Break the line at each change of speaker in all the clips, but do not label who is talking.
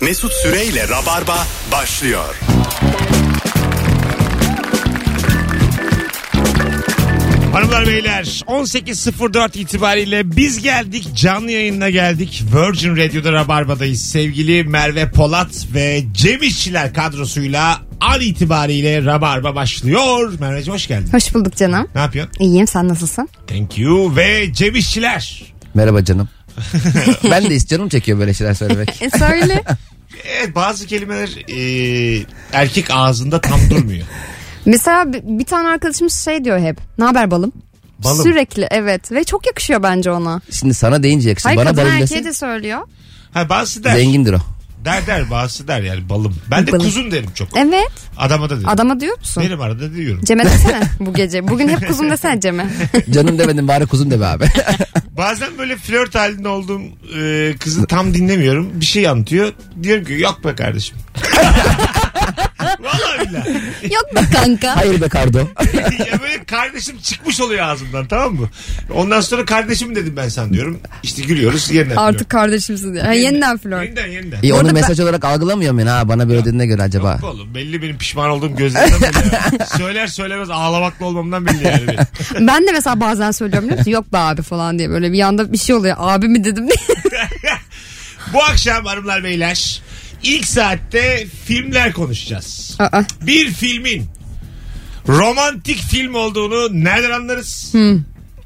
Mesut Süreyle Rabarba başlıyor.
Hanımlar beyler 18.04 itibariyle biz geldik canlı yayınına geldik. Virgin Radio'da Rabarba'dayız. Sevgili Merve Polat ve Cem İşçiler kadrosuyla an itibariyle Rabarba başlıyor. Merveciğim hoş geldin.
Hoş bulduk canım.
Ne yapıyorsun?
İyiyim sen nasılsın?
Thank you ve Cem İşçiler.
Merhaba canım. ben de canım çekiyor böyle şeyler söylemek.
E söyle.
Evet bazı kelimeler e, erkek ağzında tam durmuyor.
Mesela bi- bir tane arkadaşımız şey diyor hep. Ne haber balım?
Balım.
Sürekli evet ve çok yakışıyor bence ona.
Şimdi sana deyince yakışır.
Hayır
Bana
kadın
balım
erkeğe
desin.
de söylüyor.
Ha bazısı der.
Zengindir o.
Der der bazısı der yani balım. Ben de
Balım.
kuzum derim çok.
Evet
Adama da derim.
adama diyor musun?
Benim arada diyorum.
Cem'e desene bu gece. Bugün hep kuzum desene Cem'e.
Canım demedim bari kuzum de be abi.
Bazen böyle flört halinde olduğum e, kızı tam dinlemiyorum. Bir şey anlatıyor. Diyorum ki yok be kardeşim. Vallahi billahi.
Yok be kanka.
Hayır be kardo.
ya böyle kardeşim çıkmış oluyor ağzımdan tamam mı? Ondan sonra kardeşim dedim ben sen diyorum. İşte gülüyoruz yeniden.
Artık kardeşimsin diyor. Ha,
flört.
yeniden flört.
Yeniden yeniden.
İyi
Orada
onu
ben-
mesaj olarak algılamıyor muyum? Ha bana böyle dediğine göre acaba.
Yok Oğlum belli benim pişman olduğum gözlerimden belli. yani. Söyler söylemez ağlamaklı olmamdan belli yani. benim.
Ben de mesela bazen söylüyorum biliyor musun? Yok be abi falan diye böyle bir anda bir şey oluyor. Abi mi dedim diye.
Bu akşam hanımlar beyler ilk saatte filmler konuşacağız.
Aa,
bir filmin romantik film olduğunu nereden anlarız?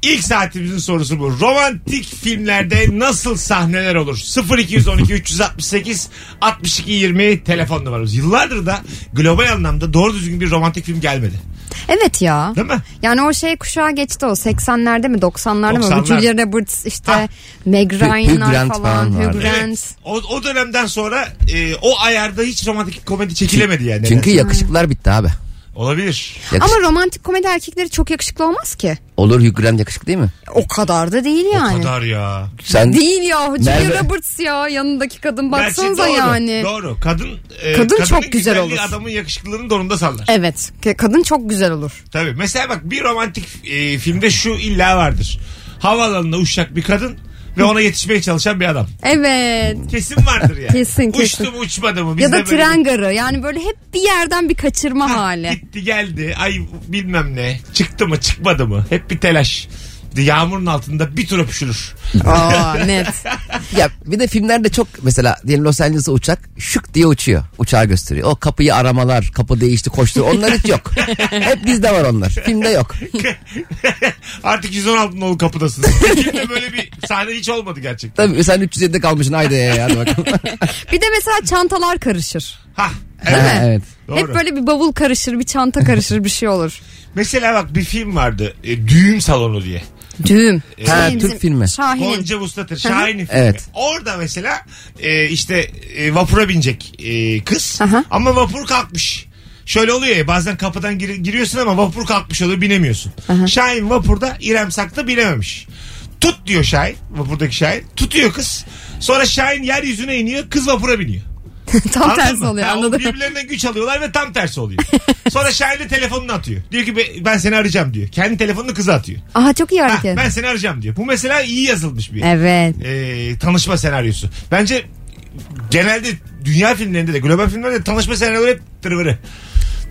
İlk saatimizin sorusu bu. Romantik filmlerde nasıl sahneler olur? 0212 368 62 20 telefon numaramız. Yıllardır da global anlamda doğru düzgün bir romantik film gelmedi.
Evet ya.
Değil mi?
Yani o şey kuşağı geçti o 80'lerde mi 90'larda mı?
90'lar.
Julia Roberts işte
Ah.
Meg
Hugh
Ryan'lar
Grant
falan.
falan
Hugh
vardı.
Grant.
O, o dönemden sonra e, o ayarda hiç romantik komedi çekilemedi yani.
Çünkü
Nedense.
yakışıklar bitti abi.
Olabilir.
Yakış...
Ama romantik komedi erkekleri çok yakışıklı olmaz ki.
Olur Hugh Grant yakışıklı değil mi?
O kadar da değil
O
yani.
kadar ya.
Sen
Değil ya Julia
Merve-
Roberts ya yanındaki kadın baksanıza
Gerçi doğru,
yani.
Doğru. Kadın, e,
Kadın
kadının
çok güzel
güzelliği
olur.
Adamın yakışıklılığını donunda sallar.
Evet ke- kadın çok güzel olur.
Tabii. Mesela bak bir romantik e, filmde şu illa vardır. Havaalanında uçacak bir kadın ve ona yetişmeye çalışan bir adam.
Evet.
Kesin vardır yani.
Kesin, kesin.
Uçtu mu uçmadı mı? Biz
ya da
de böyle
tren garı yani böyle hep bir yerden bir kaçırma hali.
Gitti geldi ay bilmem ne çıktı mı çıkmadı mı hep bir telaş. Yağmurun altında bir tur öpüşülür.
Aa net.
ya bir de filmlerde çok mesela diyelim Los Angeles'a uçak şık diye uçuyor. Uçağı gösteriyor. O kapıyı aramalar, kapı değişti, koştu. Onlar hiç yok. Hep bizde var onlar. Filmde yok.
Artık 116 nolu kapıdasınız. Filmde böyle bir sahne hiç olmadı gerçekten.
Tabii sen 307'de kalmışsın. Haydi ya, hadi bakalım.
Bir de mesela çantalar karışır.
Hah.
Ha,
Evet.
evet.
Doğru.
Hep böyle bir bavul karışır, bir çanta karışır, bir şey olur.
Mesela bak bir film vardı. e, düğün salonu diye.
Düğüm.
Ha,
Bizim
Türk filmi.
Ee, Şahin'in.
Gonca Vustatır Şahin'in filmi.
Evet.
Orada mesela e, işte e, vapura binecek e, kız
Aha.
ama vapur kalkmış. Şöyle oluyor ya bazen kapıdan gir- giriyorsun ama vapur kalkmış oluyor binemiyorsun. Şahin vapurda İrem Sak'ta binememiş. Tut diyor Şahin vapurdaki Şahin tutuyor kız. Sonra Şahin yeryüzüne iniyor kız vapura biniyor.
Tam
Anladın
tersi
mı?
oluyor
Ha, o
anladın mı?
Birbirlerine güç alıyorlar ve tam tersi oluyor. Sonra Şahin de telefonunu atıyor. Diyor ki "Be- ben seni arayacağım diyor. Kendi telefonunu kıza atıyor.
Aha çok iyi
Ha,
hareket.
ben seni arayacağım diyor. Bu mesela iyi yazılmış bir
Evet.
e, tanışma senaryosu. Bence genelde dünya filmlerinde de global filmlerde de tanışma senaryoları hep tırvırı.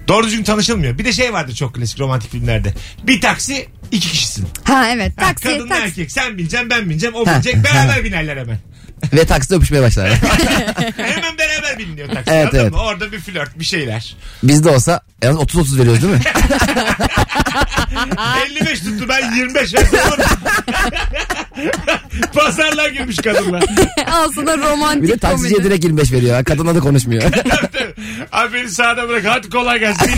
Doğru düzgün tanışılmıyor. Bir de şey vardır çok klasik romantik filmlerde. Bir taksi iki kişisin.
Ha evet.
Ha,
Taksi,
kadın
taksi.
erkek sen bineceksin ben bineceğim o
Ha.
binecek beraber binerler hemen.
Ve takside öpüşmeye başlar.
hemen beraber biniliyor taksi.
Evet,
anladın
evet.
mı? Orada bir flört bir şeyler.
Bizde olsa en az 30-30 veriyoruz değil mi?
55 tuttu ben 25 verdim. Pazarlar girmiş kadınlar.
Aslında
Bir de
romantik
taksiciye
komedi.
direkt 25 veriyor. Kadınla da konuşmuyor.
Abi beni sağda bırak hadi kolay gelsin.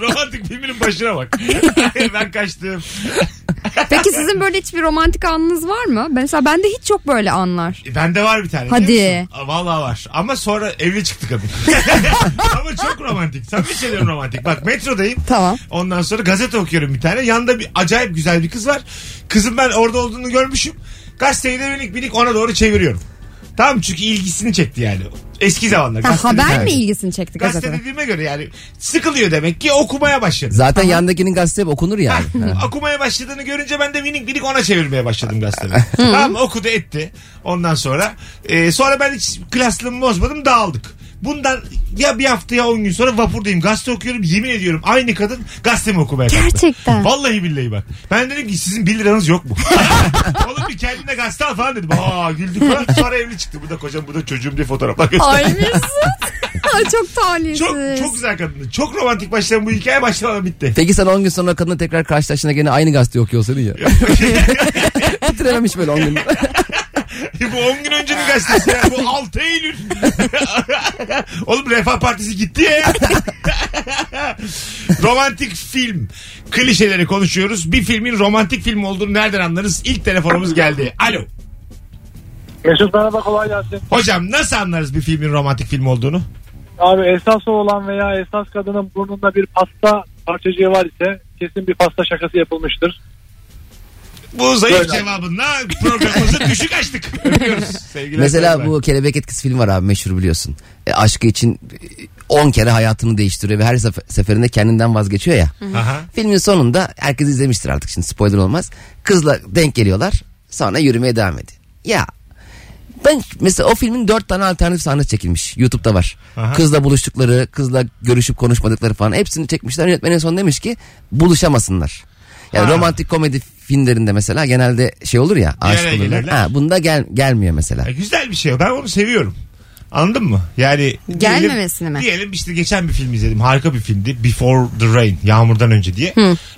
Romantik filminin başına bak. ben kaçtım.
Peki sizin böyle hiçbir romantik anınız var mı? Mesela bende hiç yok böyle anlar.
E, Bende var bir tane.
Hadi.
biliyor musun? Aa, Vallahi var. Ama sonra evli çıktı kadın. Ama çok romantik. Sen bir şey romantik. Bak metrodayım.
Tamam.
Ondan sonra gazete okuyorum bir tane. Yanında bir acayip güzel bir kız var. Kızın ben orada olduğunu görmüşüm. Gazeteyi de minik minik ona doğru çeviriyorum. Tam çünkü ilgisini çekti yani. Eski zamanlar.
Ha,
gazete-
haber mi
Evet.
ilgisini çekti
Gazete
gazetede?
dediğime göre yani sıkılıyor demek ki okumaya başladı.
Zaten yandakinin gazetesi hep okunur yani. Ha.
Ha, okumaya başladığını görünce ben de minik minik ona çevirmeye başladım gazeteleri. tamam mı? okudu etti. Ondan sonra e, sonra ben hiç klaslığımı bozmadım dağıldık. Bundan ya bir hafta ya on gün sonra vapurdayım gazete okuyorum yemin ediyorum aynı kadın gazetemi okumaya kalktı.
Gerçekten.
Vallahi billahi bak. Ben dedim ki sizin 1 liranız yok mu? Oğlum bir kendine gazete al falan dedim. Aa güldük falan. Sonra evli çıktı. Bu da kocam bu da çocuğum diye fotoğraflar gösterdi.
Ay Mesut. Ay, çok talihsiz.
Çok, çok güzel kadındı. Çok romantik başlayan bu hikaye başlamadan bitti.
Peki sen 10 gün sonra kadını tekrar karşılaştığında gene aynı gazete okuyor senin ya. Bitirememiş böyle 10 gün.
bu 10 gün öncenin gazetesi ya. Bu 6 Eylül. Oğlum Refah Partisi gitti ya. romantik film. Klişeleri konuşuyoruz. Bir filmin romantik film olduğunu nereden anlarız? İlk telefonumuz geldi. Alo.
Mesut merhaba kolay gelsin.
Hocam nasıl anlarız bir filmin romantik film olduğunu?
Abi esas olan veya esas kadının burnunda bir pasta parçacığı var ise kesin bir pasta şakası yapılmıştır.
Bu zayıf
Böyle.
cevabınla programımızı düşük açtık. Öpüyoruz. Sevgiler,
Mesela
saygılar.
bu kelebek etkisi film var abi meşhur biliyorsun. E, aşkı için e, 10 kere hayatını değiştiriyor ve her sefer- seferinde kendinden vazgeçiyor ya.
Aha.
Filmin sonunda herkes izlemiştir artık şimdi spoiler olmaz. Kızla denk geliyorlar sonra yürümeye devam ediyor. Ya ben mesela o filmin dört tane alternatif sahne çekilmiş. Youtube'da var.
Aha.
Kızla buluştukları, kızla görüşüp konuşmadıkları falan hepsini çekmişler. Yönetmen en son demiş ki buluşamasınlar. Yani
Ha.
romantik komedi filmlerinde mesela genelde şey olur ya aşık
araya
olurlar.
gelirler.
Ha, bunda gel, gelmiyor mesela.
Ya güzel bir şey. o. Ben onu seviyorum. Anladın mı? Yani
Gelmemesini mi?
Diyelim işte geçen bir film izledim. Harika bir filmdi. Before the Rain. Yağmurdan önce diye.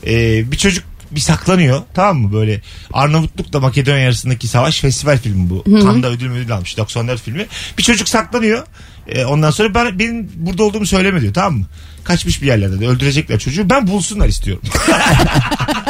Ee, bir çocuk bir saklanıyor tamam mı böyle Arnavutluk'la Makedonya arasındaki savaş festival filmi bu. Kanda ödül ödül almış 94 filmi. Bir çocuk saklanıyor Ee, ondan sonra ben benim burada olduğumu söyleme diyor tamam mı? Kaçmış bir yerlerde de öldürecekler çocuğu ben bulsunlar istiyorum.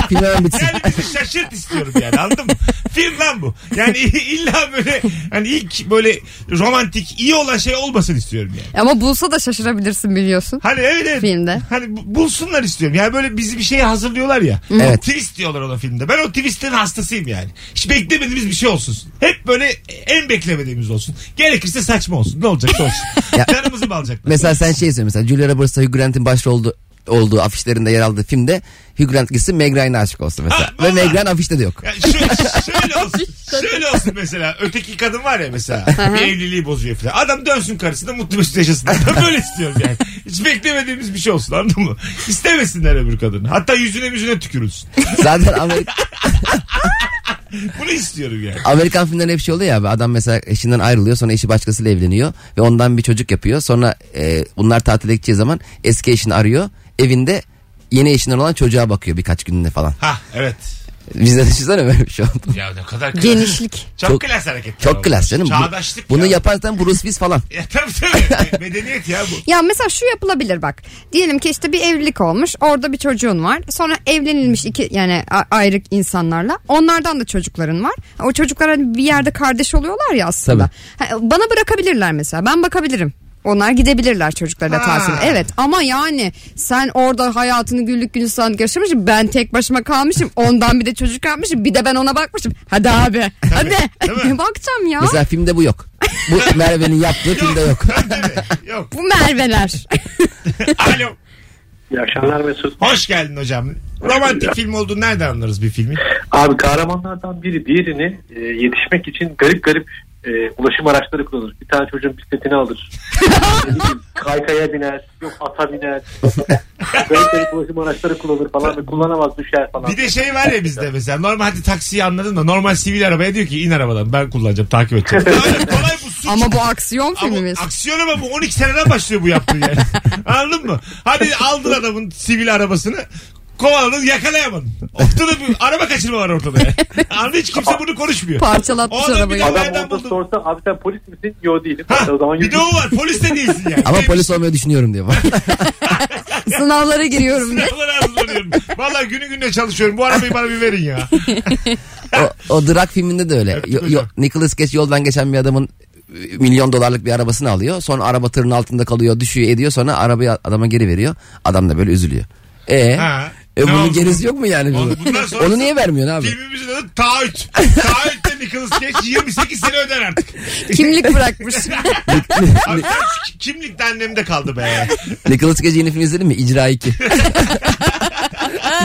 Film hemen bitsin.
Yani bizi şaşırt istiyorum yani anladın mı? Film lan bu. Yani illa böyle hani ilk böyle romantik iyi olan şey olmasın istiyorum yani.
Ama bulsa da şaşırabilirsin biliyorsun.
Hani evet evet.
Filmde.
Hani bu- bulsunlar istiyorum. Yani böyle bizi bir şeye hazırlıyorlar ya.
Evet.
Twist diyorlar ona filmde. Ben o twist'in hastasıyım yani. Hiç beklemediğimiz bir şey olsun. Hep böyle en beklemediğimiz olsun. Gerekirse saçma olsun. Ne olacaksa olsun.
Ya-
Canımızı mı alacaklar?
Mesela sen şey söyle mesela Julia Roberts'la Hugh Grant'in başrolü olduğu afişlerinde yer aldığı filmde Hugh Grant gitsin Meg Ryan'a aşık olsun mesela.
Ha,
Ve
Ah, vallahi.
Meg Ryan afişte de yok.
Ya şö- şöyle olsun. şöyle olsun mesela. Öteki kadın var ya mesela. bir evliliği bozuyor falan. Adam dönsün karısına mutlu mesut yaşasın. Ben böyle istiyorum yani. Hiç beklemediğimiz bir şey olsun anladın mı? İstemesinler öbür kadını. Hatta yüzüne yüzüne tükürülsün.
Zaten Amerika,
Bunu istiyorum yani.
Amerikan filmlerinde hep şey oluyor ya abi, adam mesela eşinden ayrılıyor sonra eşi başkasıyla evleniyor ve ondan bir çocuk yapıyor. Sonra e, bunlar tatile gideceği zaman eski eşini arıyor evinde yeni eşinden olan çocuğa bakıyor birkaç günde falan.
Ha evet.
Bizde düşünsene böyle bir şey oldu.
Ya ne kadar klas.
Genişlik.
Çok,
Çok-
klas hareketler.
Çok
abi.
klas canım. Bu-
Çağdaşlık
Bunu
ya.
yaparsan Bruce Willis falan.
Ya tabii tabii. Medeniyet ya bu.
Ya mesela şu yapılabilir bak. Diyelim ki işte bir evlilik olmuş. Orada bir çocuğun var. Sonra evlenilmiş iki yani a- ayrı insanlarla. Onlardan da çocukların var. O çocuklar hani bir yerde kardeş oluyorlar ya aslında. Ha, bana bırakabilirler mesela. Ben bakabilirim. Onlar gidebilirler çocuklarla
Ha.
tatile. Evet ama yani sen orada hayatını güllük gülistanlık yaşamışsın. Ben tek başıma kalmışım. Ondan bir de çocuk yapmışım. Bir de ben ona bakmışım. Hadi abi. Hadi.
Değil mi?
Ne bakacağım ya?
Mesela filmde bu yok. Bu Merve'nin yaptığı filmde yok.
Tabii, tabii. Yok.
Bu Merveler.
Alo.
İyi akşamlar Mesut.
Hoş geldin hocam. Romantik film olduğunu nereden anlarız bir filmin?
Abi kahramanlardan biri diğerini e, yetişmek için garip garip e, ulaşım araçları kullanır. Bir tane çocuğun bisikletini alır. Ne bileyim, kaykaya biner, yok ata biner. garip garip ulaşım araçları kullanır falan ve kullanamaz düşer falan.
Bir de şey var ya bizde mesela normal hadi taksiyi anladın da normal sivil arabaya diyor ki in arabadan ben kullanacağım takip edeceğim. Kolay- kolay bu suç.
ama bu aksiyon
Ama
filmimiz.
aksiyon ama bu 12 seneden başlıyor bu yaptığın yani. Anladın mı? Hadi aldın adamın sivil arabasını kovaladın yakalayamadın. Ortada bir araba kaçırma var ortada yani. Anladın hiç kimse bunu konuşmuyor.
Parçalatmış
Orada bir
arabayı.
de-
Adam
Nereden
orada
buldun?
sorsa abi sen polis misin? Yo değilim.
Ha,
o zaman
bir
yürü.
de o var polis de değilsin yani.
Ama
Neymiş?
polis olmayı düşünüyorum diyor.
Sınavlara giriyorum. diye.
Sınavlara hazırlanıyorum. Valla günü gününe çalışıyorum. Bu arabayı bana bir verin ya.
o, o Drak filminde de öyle.
Öptük
Yo, yo,
hocam.
Nicolas Cage yoldan geçen bir adamın e, milyon dolarlık bir arabasını alıyor. Sonra araba tırın altında kalıyor, düşüyor, ediyor. Sonra arabayı adama geri veriyor. Adam da böyle üzülüyor. E,
Ha,
e
ne
bunun
oldu?
gerisi yok mu yani?
Oğlum bundan sonra-
Onu niye vermiyorsun abi?
Filmimizin adı Taahhüt. Taahhütte Nicolas Cage 28 sene öder artık.
Kimlik bırakmış.
Abi, ben- kimlik de annemde kaldı be.
Nicolas Cage yeni film izledin mi? İcra 2.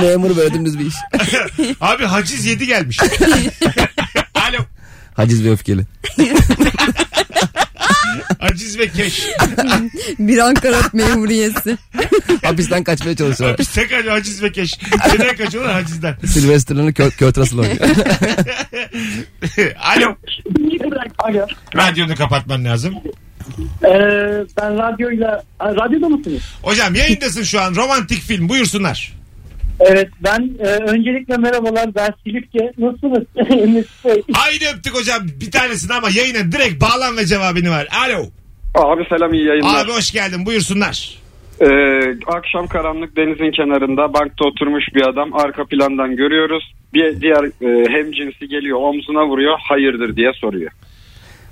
Memur böyle dümdüz bir iş.
Abi haciz 7 gelmiş. Alo.
Haciz ve öfkeli.
Haciz ve keş.
bir Ankara memuriyesi.
Hapisten kaçmaya çalışıyorlar.
Biz tekrar haciz ve keş. Neden kaçıyorlar hacizden?
Sylvester Stallone'ı Kurt, Kurt Russell oynuyor.
Alo.
Alo.
Radyonu kapatman lazım.
Ee, ben radyoyla... Ha, Radyoda mısınız?
Hocam yayındasın şu an. Romantik film buyursunlar.
Evet ben e, öncelikle merhabalar ben Silifke. Nasılsınız? Mesut Bey.
Haydi öptük hocam bir tanesini ama yayına direkt bağlan ve cevabını ver. Alo.
Abi selam iyi yayınlar.
Abi hoş geldin buyursunlar.
Ee, akşam karanlık denizin kenarında bankta oturmuş bir adam arka plandan görüyoruz. Bir diğer e, hemcinsi geliyor omzuna vuruyor hayırdır diye soruyor.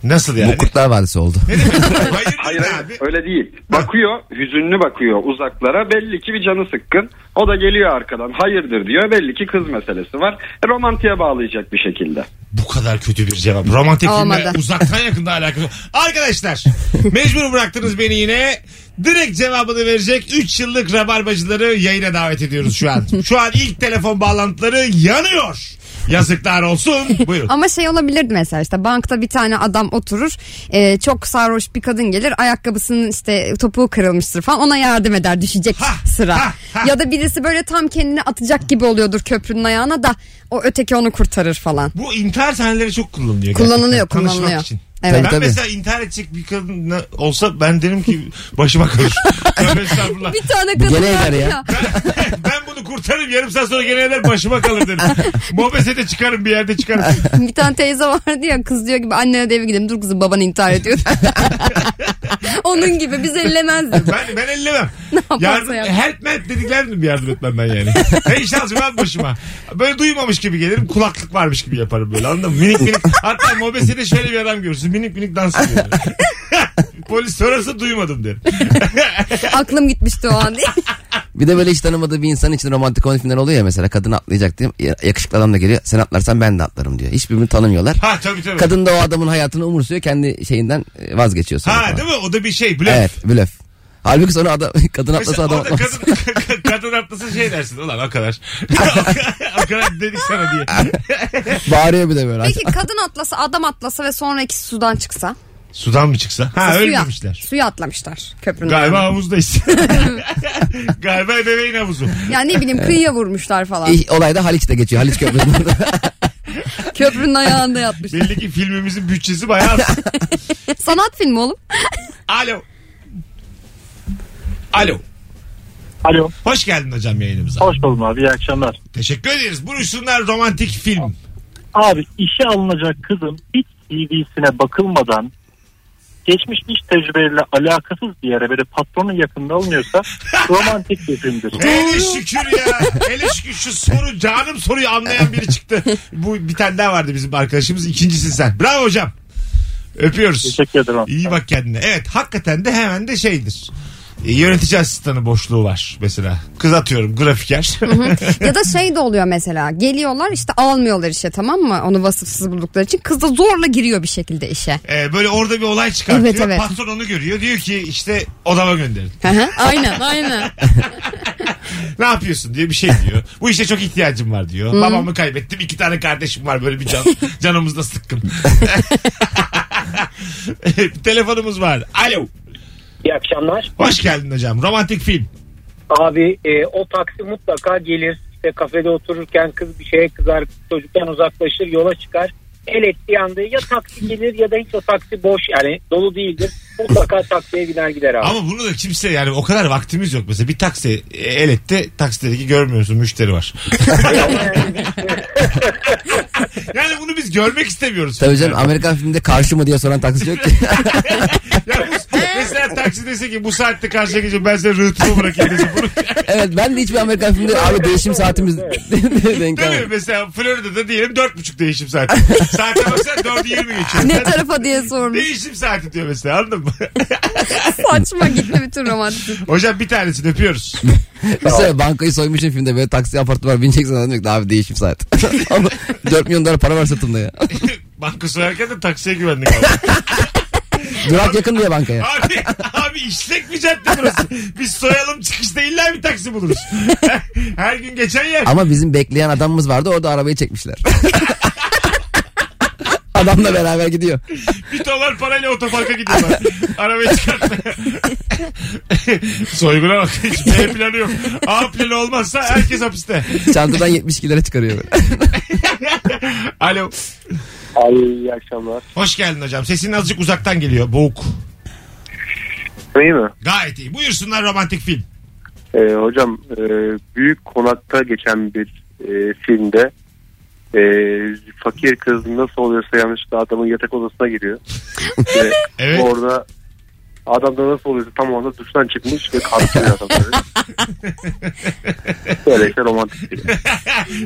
Nasıl yani?
Bu Kurtlar Vadisi oldu.
Ne demek? Hayır,
Hayır
ne
hayır
abi.
öyle değil. Bakıyor hüzünlü bakıyor uzaklara belli ki bir canı sıkkın. O da geliyor arkadan hayırdır diyor belli ki kız meselesi var. E, romantiğe bağlayacak bir şekilde.
Bu kadar kötü bir cevap. Romantik filmle
Olmadı.
uzaktan yakında alakası yok. Arkadaşlar mecbur bıraktınız beni yine. Direkt cevabını verecek 3 yıllık rabarbacıları yayına davet ediyoruz şu an. Şu an ilk telefon bağlantıları yanıyor. Yazıklar olsun. Buyurun.
Ama şey olabilirdi mesela işte bankta bir tane adam oturur e, çok sarhoş bir kadın gelir ayakkabısının işte topuğu kırılmıştır falan ona yardım eder düşecek
Ha,
sıra.
ha, ha.
Ya da birisi böyle tam kendini atacak gibi oluyordur köprünün ayağına da o öteki onu kurtarır falan.
Bu intihar sahneleri çok kullanılıyor.
Kullanılıyor
gerçekten. Tanışmak
kullanılıyor.
için.
Evet.
ben
Tabii, tabii.
mesela intihar edecek bir kadın olsa ben derim ki başıma kalır. Tövbe estağfurullah.
Bir tane
Bu
kadın
gene
var
eder ya.
ya.
Ben, ben bunu kurtarırım yarım saat sonra gene eder başıma kalır derim. Mobese de çıkarım bir yerde çıkarım.
Bir tane teyze vardı ya kız diyor gibi annene de eve gidelim dur kızım baban intihar ediyor. Onun gibi biz ellemezdik.
Ben, ben ellemem. yardım,
yaparsa yap.
help help dediklerini bir yardım etmem ben yani. Ben iş lazım abi başıma. Böyle duymamış gibi gelirim kulaklık varmış gibi yaparım böyle anladın mı? Minik minik hatta mobesede şöyle bir adam görürsün minik minik dans ediyor. Polis sorarsa duymadım derim.
Aklım gitmişti o an diye.
Bir de böyle hiç tanımadığı bir insan için romantik komedi filmler oluyor ya mesela. Kadın atlayacak diye yakışıklı adam da geliyor. Sen atlarsan ben de atlarım diyor. Hiçbirbirini tanımıyorlar.
Ha tabii tabii.
Kadın da o adamın hayatını umursuyor. Kendi şeyinden e, vazgeçiyor sonra.
Ha
falan.
değil mi? O da bir şey. Blöf.
Evet blöf. Halbuki sonra adam, kadın atlasa
Mesela
adam
orada
atlamaz.
kadın, kadın atlasa şey dersin. Ulan o kadar. o kadar dedik sana diye.
Bağırıyor bir de böyle.
Peki kadın atlasa adam atlasa ve sonra ikisi sudan çıksa?
Sudan mı çıksa? Ha öyle
suya,
demişler.
suya atlamışlar köprünün.
Galiba havuzdayız. Galiba bebeğin havuzu.
Yani ne bileyim kıyıya vurmuşlar falan.
İh, Olay da Haliç'te geçiyor. Haliç Köprüsü'nde.
Köprünün ayağında yatmışlar.
Belli ki filmimizin bütçesi bayağı az.
Sanat filmi oğlum.
Alo. Alo.
Alo.
Hoş geldin hocam yayınımıza.
Hoş buldum abi. iyi akşamlar.
Teşekkür ederiz. Buyursunlar romantik film.
Abi işe alınacak kızın hiç CV'sine bakılmadan geçmiş iş tecrübeleriyle alakasız bir yere böyle patronun yakında alınıyorsa romantik bir filmdir.
Hele şükür ya. Hele şükür şu soru canım soruyu anlayan biri çıktı. Bu bir tane daha vardı bizim arkadaşımız. İkincisin sen. Bravo hocam. Öpüyoruz.
Teşekkür ederim.
İyi bak kendine. Evet hakikaten de hemen de şeydir. E, Yönetici asistanı boşluğu var mesela. Kız atıyorum grafiker.
Ya da şey de oluyor mesela geliyorlar işte almıyorlar işe tamam mı onu vasıfsız buldukları için kız da zorla giriyor bir şekilde işe.
E, böyle orada bir olay çıkartıyor.
Evet, evet.
Patron onu görüyor. Diyor ki işte odama gönderin.
Hı hı, aynen aynen.
ne yapıyorsun diye bir şey diyor. Bu işe çok ihtiyacım var diyor. Babamı kaybettim. iki tane kardeşim var böyle bir can, canımızda sıkkın. Bir Telefonumuz var. Alo.
İyi akşamlar.
Hoş geldin hocam. Romantik film.
Abi e, o taksi mutlaka gelir. İşte kafede otururken kız bir şeye kızar, çocuktan uzaklaşır, yola çıkar. El ettiği anda ya taksi gelir ya da hiç o taksi boş yani dolu değildir. Mutlaka taksiye gider gider abi.
Ama bunu da kimse yani o kadar vaktimiz yok. Mesela bir taksi e, el etti. Taksideki görmüyorsun müşteri var. yani bunu biz görmek istemiyoruz.
Tabii canım Amerikan filminde karşı mı diye soran taksici yok ki.
Ya bu- mesela taksi dese ki bu saatte karşıya geçeceğim ben sana rıhtımı bırakayım dese bunu.
evet ben de hiçbir Amerikan filminde abi değişim saatimiz denk
Değil mi?
gelmedi.
Mesela Florida'da diyelim dört buçuk değişim saati. Saate baksana dördü yirmi geçiyor.
Ne
Sen
tarafa diye sormuş.
Değişim saati diyor mesela anladın mı?
Saçma gitti bütün romantik.
Hocam bir tanesini öpüyoruz.
Mesela bankayı soymuşum filmde böyle taksi apartman bineceksin adam diyor ki, abi değişim saat. Ama 4 milyon dolar para var sırtımda ya.
Banka sorarken de taksiye güvendik abi.
Durak yakın diye bankaya.
abi, abi işlek bir cadde burası. Biz soyalım çıkışta illa bir taksi buluruz. Her gün geçen yer.
Ama bizim bekleyen adamımız vardı orada arabayı çekmişler. Adamla beraber gidiyor.
Bir dolar parayla otoparka gidiyorlar. Arabayı çıkartmaya. Soyguna bak. Hiç B planı yok. A planı olmazsa herkes hapiste.
Çantadan 72 lira çıkarıyor. böyle.
Alo.
Ay iyi akşamlar.
Hoş geldin hocam. Sesin azıcık uzaktan geliyor. Boğuk.
İyi mi?
Gayet iyi. Buyursunlar romantik film.
Ee, hocam e, büyük konakta geçen bir e, filmde e, fakir kız nasıl oluyorsa yanlışlıkla adamın yatak odasına giriyor. Ve
Evet.
Orada adam da nasıl oluyorsa tam orada duştan çıkmış ve kalkıyor adamları. Böylece romantik bir. şey.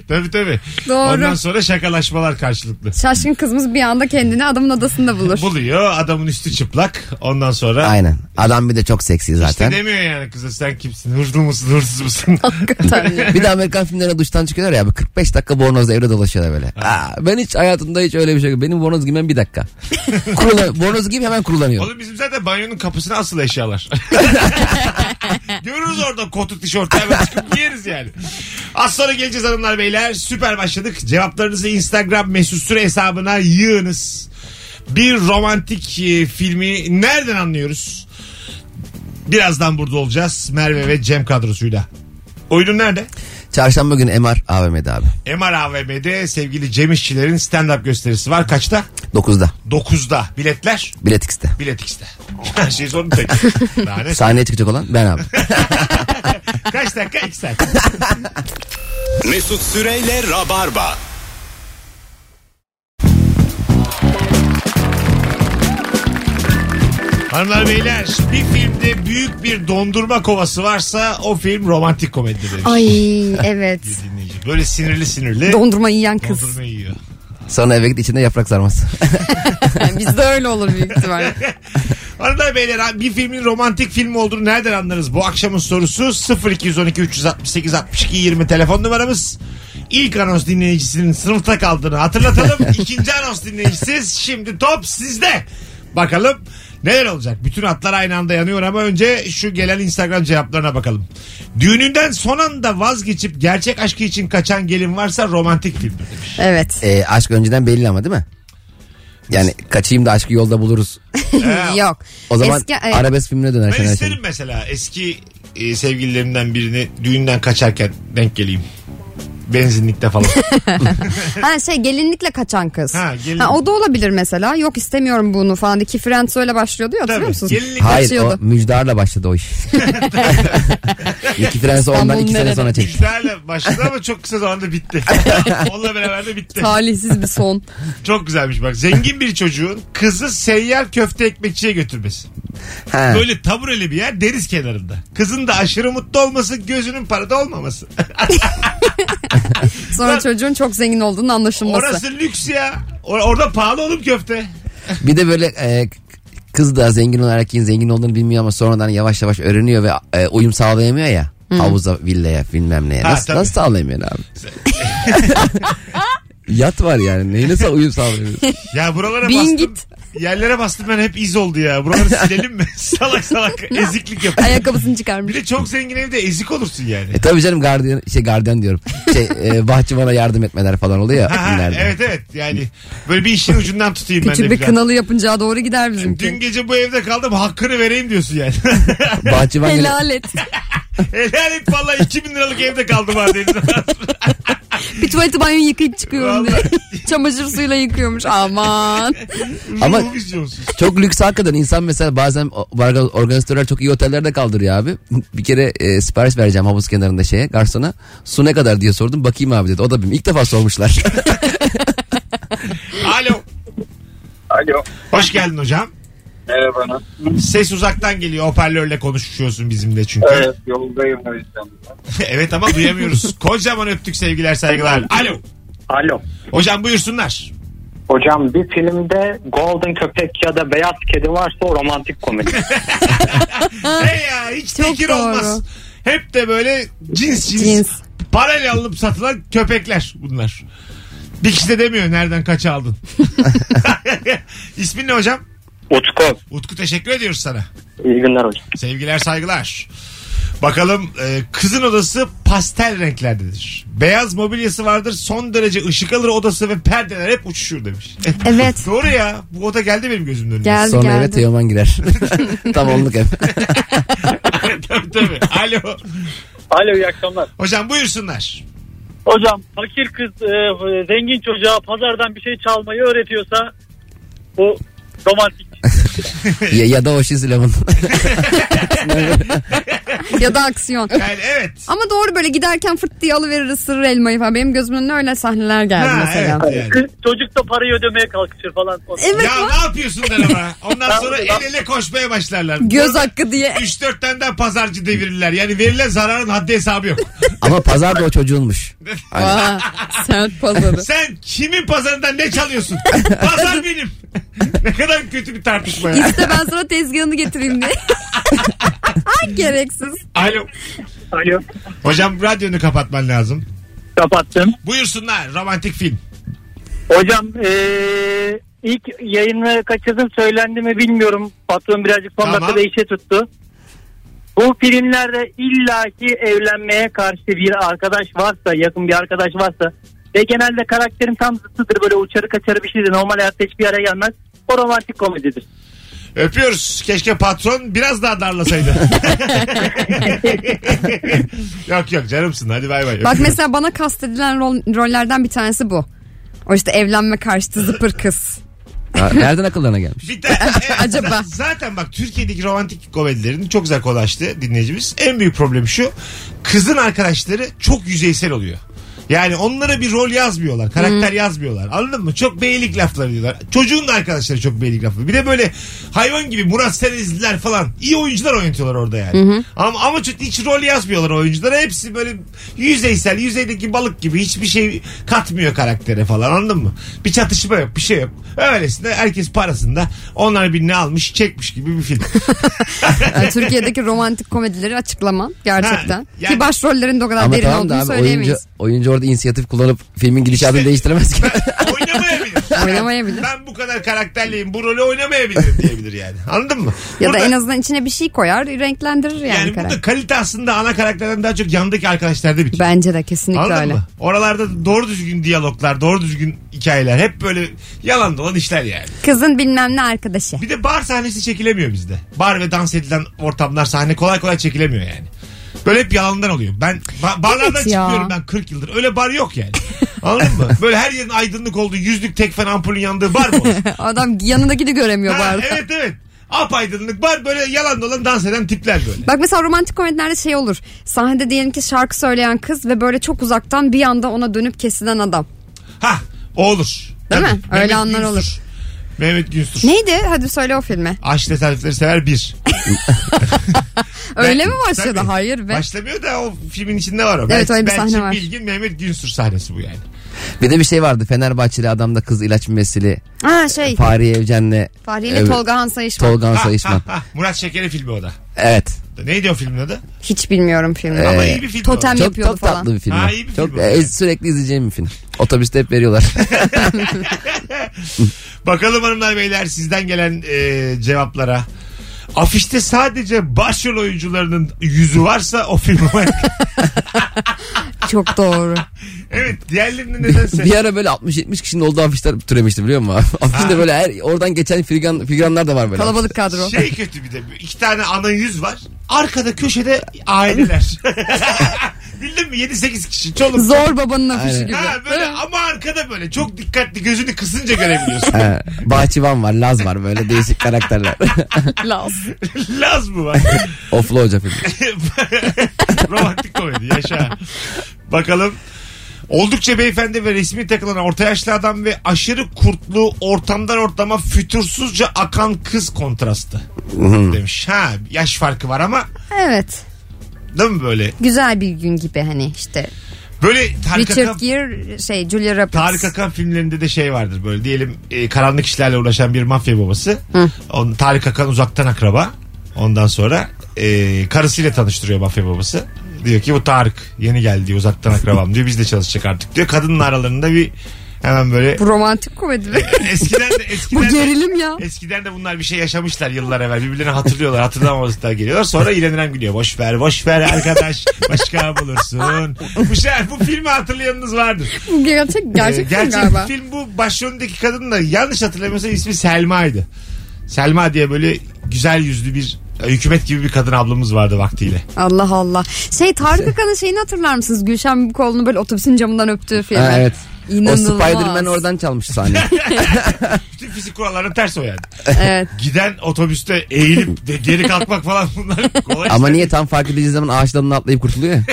Tabii tabii.
Doğru.
Ondan sonra şakalaşmalar karşılıklı.
Şaşkın kızımız bir anda kendini adamın odasında bulur.
Buluyor adamın üstü çıplak. Ondan sonra
Aynen. Adam bir de çok seksi
işte
zaten.
demiyor yani kıza sen kimsin? Hırsız mısın? Hırsız mısın?
Hakikaten ya.
Bir de Amerikan filmlerine duştan çıkıyorlar ya. bu 45 dakika bornozla evde dolaşıyorlar böyle. Aa, ben hiç hayatımda hiç öyle bir şey yok. Benim bornoz giymem bir dakika. Kurula, bornoz giyip hemen kurulanıyor.
Oğlum bizim zaten banyonun kapısına asıl eşyalar. Görürüz orada kotu tişörtü hemen çıkıp giyeriz yani. Az sonra geleceğiz hanımlar beyler. Süper başladık. Cevaplarınızı Instagram mesut süre hesabına yığınız. Bir romantik e, filmi nereden anlıyoruz? Birazdan burada olacağız. Merve ve Cem kadrosuyla. Oyunun nerede?
Çarşamba günü MR AVM'de abi.
MR AVM'de sevgili Cem İşçilerin stand-up gösterisi var. Kaçta?
9'da.
9'da. Biletler?
Bilet X'te.
Bilet X'te. Her şey sorun tek. Daha ne?
Sahneye çıkacak olan ben abi.
Kaç dakika? 2 saat.
Mesut Süreyle Rabarba.
Hanımlar beyler bir filmde büyük bir dondurma kovası varsa o film romantik komedidir demiş.
Ay evet.
Bir dinleyici. Böyle sinirli sinirli
Dondurma yiyen kız.
dondurma yiyor.
Sonra eve git içinde yaprak sarması.
Yani bizde öyle olur büyük ihtimalle.
Hanımlar beyler bir filmin romantik film olduğunu nereden anlarız? Bu akşamın sorusu 0212 368 62 20 telefon numaramız. İlk anons dinleyicisinin sınıfta kaldığını hatırlatalım. İkinci anons dinleyicisiz. Şimdi top sizde. Bakalım neler olacak? Bütün atlar aynı anda yanıyor ama önce şu gelen Instagram cevaplarına bakalım. Düğününden son anda vazgeçip gerçek aşkı için kaçan gelin varsa romantik filmdir demiş.
Evet.
E, aşk önceden belli ama değil mi? Yani kaçayım da aşkı yolda buluruz.
E,
Yok.
O zaman
Eski- e,
arabesk filmine döner.
Ben
Şener Şen.
isterim mesela eski e, sevgililerimden birini düğünden kaçarken denk geleyim. Benzinlikte falan.
Ha şey gelinlikle kaçan kız.
Ha,
Ha,
gelin-
o da olabilir mesela. Yok istemiyorum bunu falan. Ki Friends öyle başlıyordu ya hatırlıyor
Tabii.
musunuz?
Gelinlikle
Hayır o
Kaçıyordu.
müjdarla başladı o iş. iki Fransa ondan
İstanbul'un
iki sene
nerede?
sonra çekti.
Müjdeyle başladı ama çok kısa zamanda bitti. Onunla beraber de bitti.
Talihsiz bir son.
Çok güzelmiş bak. Zengin bir çocuğun kızı seyyar köfte ekmekçiye götürmesi.
Ha.
Böyle tabureli bir yer deniz kenarında. Kızın da aşırı mutlu olması gözünün parada olmaması.
Sonra çocuğun çok zengin olduğunu anlaşılması.
Orası lüks ya. Or- orada pahalı oğlum köfte.
Bir de böyle e, kız da zengin olan erkeğin zengin olduğunu bilmiyor ama sonradan yavaş yavaş öğreniyor ve e, uyum sağlayamıyor ya. Havuza, villaya bilmem neye.
Ha,
Nasıl,
tabii.
nasıl sağlayamıyorsun abi? Yat var yani. Neyi nasıl uyum sağlayamıyorsun?
Ya buralara
Bin
bastım.
git.
Yerlere bastım ben hep iz oldu ya. Buraları silelim mi? salak salak eziklik yap.
Ayakkabısını
Bir
çıkarmış.
de çok zengin evde ezik olursun yani.
E tabii canım gardiyan, şey gardiyan diyorum. Şey, e, bahçıvana yardım etmeler falan oluyor ya.
Ha, ha,
filmlerde.
evet evet yani böyle bir işin ucundan tutayım ben de
Küçük bir
biraz.
kınalı yapıncağa doğru gider bizimki.
Dün gece bu evde kaldım hakkını vereyim diyorsun yani.
Bahçıvan gene-
Helal et.
Helal et valla 2000 liralık evde kaldım ha dedim.
bir tuvaleti banyoyu yıkayıp çıkıyorum diye.
Vallahi.
Çamaşır suyuyla yıkıyormuş aman.
Ama-
Ruh vizyonsuz.
Çok lüks hakikaten insan mesela bazen o- orga- organizatörler çok iyi otellerde kaldırıyor abi. Bir kere e, sipariş vereceğim havuz kenarında şeye garsona. Su ne kadar diye sordum bakayım abi dedi. O da bilmiyor. İlk defa sormuşlar.
Alo.
Alo.
Hoş geldin hocam.
Merhaba.
Ses uzaktan geliyor hoparlörle konuşuyorsun bizimle çünkü. Evet,
Evet yoldayım o yüzden.
ama duyamıyoruz. Kocaman öptük sevgiler saygılar. Alo.
Alo.
Hocam buyursunlar.
Hocam bir filmde Golden Köpek ya da Beyaz Kedi varsa o romantik komedi.
Hey ya hiç
Çok
tekir
doğru.
olmaz. Hep de böyle cins cins.
Cins.
Parayla alınıp satılan köpekler bunlar. Bir kişi de demiyor nereden kaç aldın. İsmin ne hocam?
Utku.
Utku teşekkür ediyoruz sana.
İyi günler hocam.
Sevgiler saygılar. Bakalım e, kızın odası pastel renklerdedir. Beyaz mobilyası vardır. Son derece ışık alır odası ve perdeler hep uçuşur demiş. E,
Evet.
Doğru ya. Bu oda geldi benim gözümün önüne.
Geldi
Sonra eve
geldi.
Teoman girer. Tam onluk ev.
tabii tabii. Alo.
Alo iyi akşamlar.
Hocam buyursunlar.
Hocam fakir kız e, zengin çocuğa pazardan bir şey çalmayı öğretiyorsa bu romantik.
ya, ya da Ocean's Eleven.
ya da aksiyon.
Yani evet.
Ama doğru böyle giderken fırt diye alıverir ısırır elmayı falan. Benim gözümün önüne öyle sahneler geldi
Ha,
mesela.
evet yani.
Kız, çocuk da parayı ödemeye kalkışır falan.
Evet.
Ya ne yapıyorsun der ama. Ondan
Ben-
sonra el
ben-
ele koşmaya başlarlar.
Göz hakkı diye.
3-4 tane daha pazarcı devirirler. Yani verilen zararın haddi hesabı yok.
Ama pazar da o çocuğunmuş.
Aa, sert pazarı.
Sen kimin pazarından ne çalıyorsun? Pazar benim. ne kadar kötü bir tartışma ya.
İşte ben sana tezgahını getireyim diye. Ay gereksiz.
Alo.
Alo.
Hocam radyonu kapatman lazım.
Kapattım.
Buyursunlar romantik film.
Hocam eee, ilk yayını kaçırdım söylendi mi bilmiyorum. Patron birazcık son
Tamam.
dakikada işe tuttu. Bu filmlerde illaki evlenmeye karşı bir arkadaş varsa, yakın bir arkadaş varsa ve genelde karakterin tam zıttıdır böyle uçarı kaçarı bir şeydir. Normal hayatta hiçbir araya gelmez. O romantik komedidir.
Öpüyoruz. Keşke patron biraz daha darlasaydı. yok yok canımsın hadi bay bay.
Bak
Öpüyorum.
mesela bana kastedilen rol, rollerden bir tanesi bu. O işte evlenme karşıtı zıpır kız.
Ha, Nereden akıllarına gelmiş?
Bir tane- evet,
Acaba?
z- Zaten bak Türkiye'deki romantik komedilerini çok güzel kolaştı dinleyicimiz. En büyük problem şu. Kızın arkadaşları çok yüzeysel oluyor. Yani onlara bir rol yazmıyorlar. Karakter yazmıyorlar. Anladın mı? Çok beylik lafları diyorlar. Çocuğun da arkadaşları çok beylik lafları. Bir de böyle hayvan gibi Murat Senizliler falan. iyi oyuncular oynatıyorlar orada yani. Ama, ama çok- hiç rol yazmıyorlar oyunculara. Hepsi böyle yüzeysel. Yüzeydeki balık gibi. Hiçbir şey katmıyor karaktere falan. Anladın mı? Bir çatışma yok. Bir şey yok. Öylesine herkes parasında. Onlar bir ne almış çekmiş gibi bir film.
Yani Türkiye'deki romantik komedileri açıklamam gerçekten.
Ha, yani-
Ki başrollerin de o kadar
Ama
derin
tamam da
olduğunu
abi oyuncu,
söyleyemeyiz.
oyuncu orada inisiyatif kullanıp filmin gidişatını
İşte-
değiştiremez ki.
oynamayabilir.
Oynamayabilir.
Ben bu kadar karakterliyim. Bu rolü oynamayabilirim diyebilir yani. Anladın mı?
Ya da
Burada-
en azından içine bir şey koyar renklendirir yani,
yani
karakter.
burada kalite aslında ana karakterden daha çok yandaki arkadaşlarda bitiyor.
Bence de kesinlikle
Anladın
öyle.
mı? Oralarda doğru düzgün diyaloglar, doğru düzgün hikayeler hep böyle yalan dolan işler yani.
Kızın bilmem ne arkadaşı.
Bir de bar sahnesi çekilemiyor bizde. Bar ve dans edilen ortamlar sahne kolay kolay çekilemiyor yani. Böyle hep yalandan oluyor. Ben ba- barlardan
Evet ya.
çıkıyorum ben 40 yıldır. Öyle bar yok yani. Anladın mı? Böyle her yerin aydınlık olduğu, yüzlük tek fen ampulün yandığı bar mı olur?
Adam yanındakini göremiyor bu
Ha,
arada.
evet evet. Apaydınlık bar böyle yalan dolan dans eden tipler böyle.
Bak mesela romantik komedilerde şey olur. Sahnede diyelim ki şarkı söyleyen kız ve böyle çok uzaktan bir anda ona dönüp kesilen adam.
Ha o olur.
Değil
Tabii.
mi? Öyle
Mehmet
anlar
Günsür.
olur.
Mehmet Günsür.
Neydi? Hadi söyle o filmi.
Aşk tesadüfleri sever bir.
Öyle
Ben-
mi başladı?
Tabii.
Hayır be.
Başlamıyor da o filmin içinde var o.
Evet, öyle bir sahne
Belçin
var.
Bilgin Mehmet Günsür sahnesi bu yani.
bir de bir şey vardı. Fenerbahçeli adamda kız ilaç mümessili.
ha şey.
Fahriye Evcen'le
Fahri ile
Evet.
Tolga Han Sayışman.
Tolga
Ha,
Sayışman.
ha, ha. Murat Şeker'in filmi o da.
Evet.
Neydi o filmin adı?
Hiç bilmiyorum
Ee,
filmi.
Ama iyi bir film.
Totem
o.
Çok,
yapıyordu
çok
falan.
tatlı bir film.
Ha,
o.
iyi bir
çok
film o.
e, sürekli izleyeceğim bir film. Otobüste hep veriyorlar.
Bakalım hanımlar beyler sizden gelen e, cevaplara. Afişte sadece başrol oyuncularının yüzü varsa o film var.
Çok doğru.
evet diğerlerinin nedense.
bir ara böyle 60-70 kişinin olduğu afişler türemişti biliyor musun? abi? Afişte böyle her, oradan geçen figüran, figüranlar da var böyle.
Kalabalık kadro.
Şey kötü bir de iki tane ana yüz var. Arkada köşede aileler. Bildin mi? 7-8 kişi. Çoluk.
Zor babanın afişi
Aynen.
gibi.
Ha, böyle, ama arkada böyle çok dikkatli gözünü kısınca görebiliyorsun.
He, Bahçıvan var, Laz var böyle değişik karakterler.
Laz.
Laz mı var?
Oflu Hoca filmi.
Romantik komedi yaşa. Bakalım. Oldukça beyefendi ve resmi takılan orta yaşlı adam ve aşırı kurtlu ortamdan ortama fütursuzca akan kız kontrastı demiş. Ha yaş farkı var ama
Evet.
değil mi böyle?
Güzel bir gün gibi hani işte.
Böyle Tarık Akan,
Richard Gere şey Julia Roberts.
Tarık Akan filmlerinde de şey vardır böyle diyelim e, karanlık işlerle uğraşan bir mafya babası. On, Tarık Akan uzaktan akraba. Ondan sonra e, karısıyla tanıştırıyor mafya babası. Diyor ki bu Tarık yeni geldi diyor, uzaktan akrabam diyor bizle çalışacak artık diyor. Kadının aralarında bir Hemen böyle.
Bu romantik komedi mi?
Eskiden de, eskiden
Bu
de-
gerilim ya.
Eskiden de bunlar bir şey yaşamışlar yıllar evvel. Birbirlerini hatırlıyorlar. Hatırlamazlıklar geliyorlar. Sonra iğrenirem gülüyor. Boş ver, boş ver arkadaş. Başka bulursun. Bu şey, bu filmi hatırlayanınız vardır.
Bu gerçek, gerçek,
Ee,
film galiba.
film bu başrolündeki kadın da yanlış hatırlamıyorsam ismi Selma'ydı. Selma diye böyle güzel yüzlü bir hükümet gibi bir kadın ablamız vardı vaktiyle.
Allah Allah. Şey Tarık Akan'ın şeyini hatırlar mısınız? Gülşen bir kolunu böyle otobüsün camından öptüğü film.
Ha, evet.
İnanılmaz.
O Spider-Man oradan çalmış sahne.
Bütün fizik kurallarına ters o yani.
Evet.
Giden otobüste eğilip de geri kalkmak falan bunlar kolay.
Ama
işler.
niye tam fark edeceği zaman ağaç dalına atlayıp kurtuluyor ya.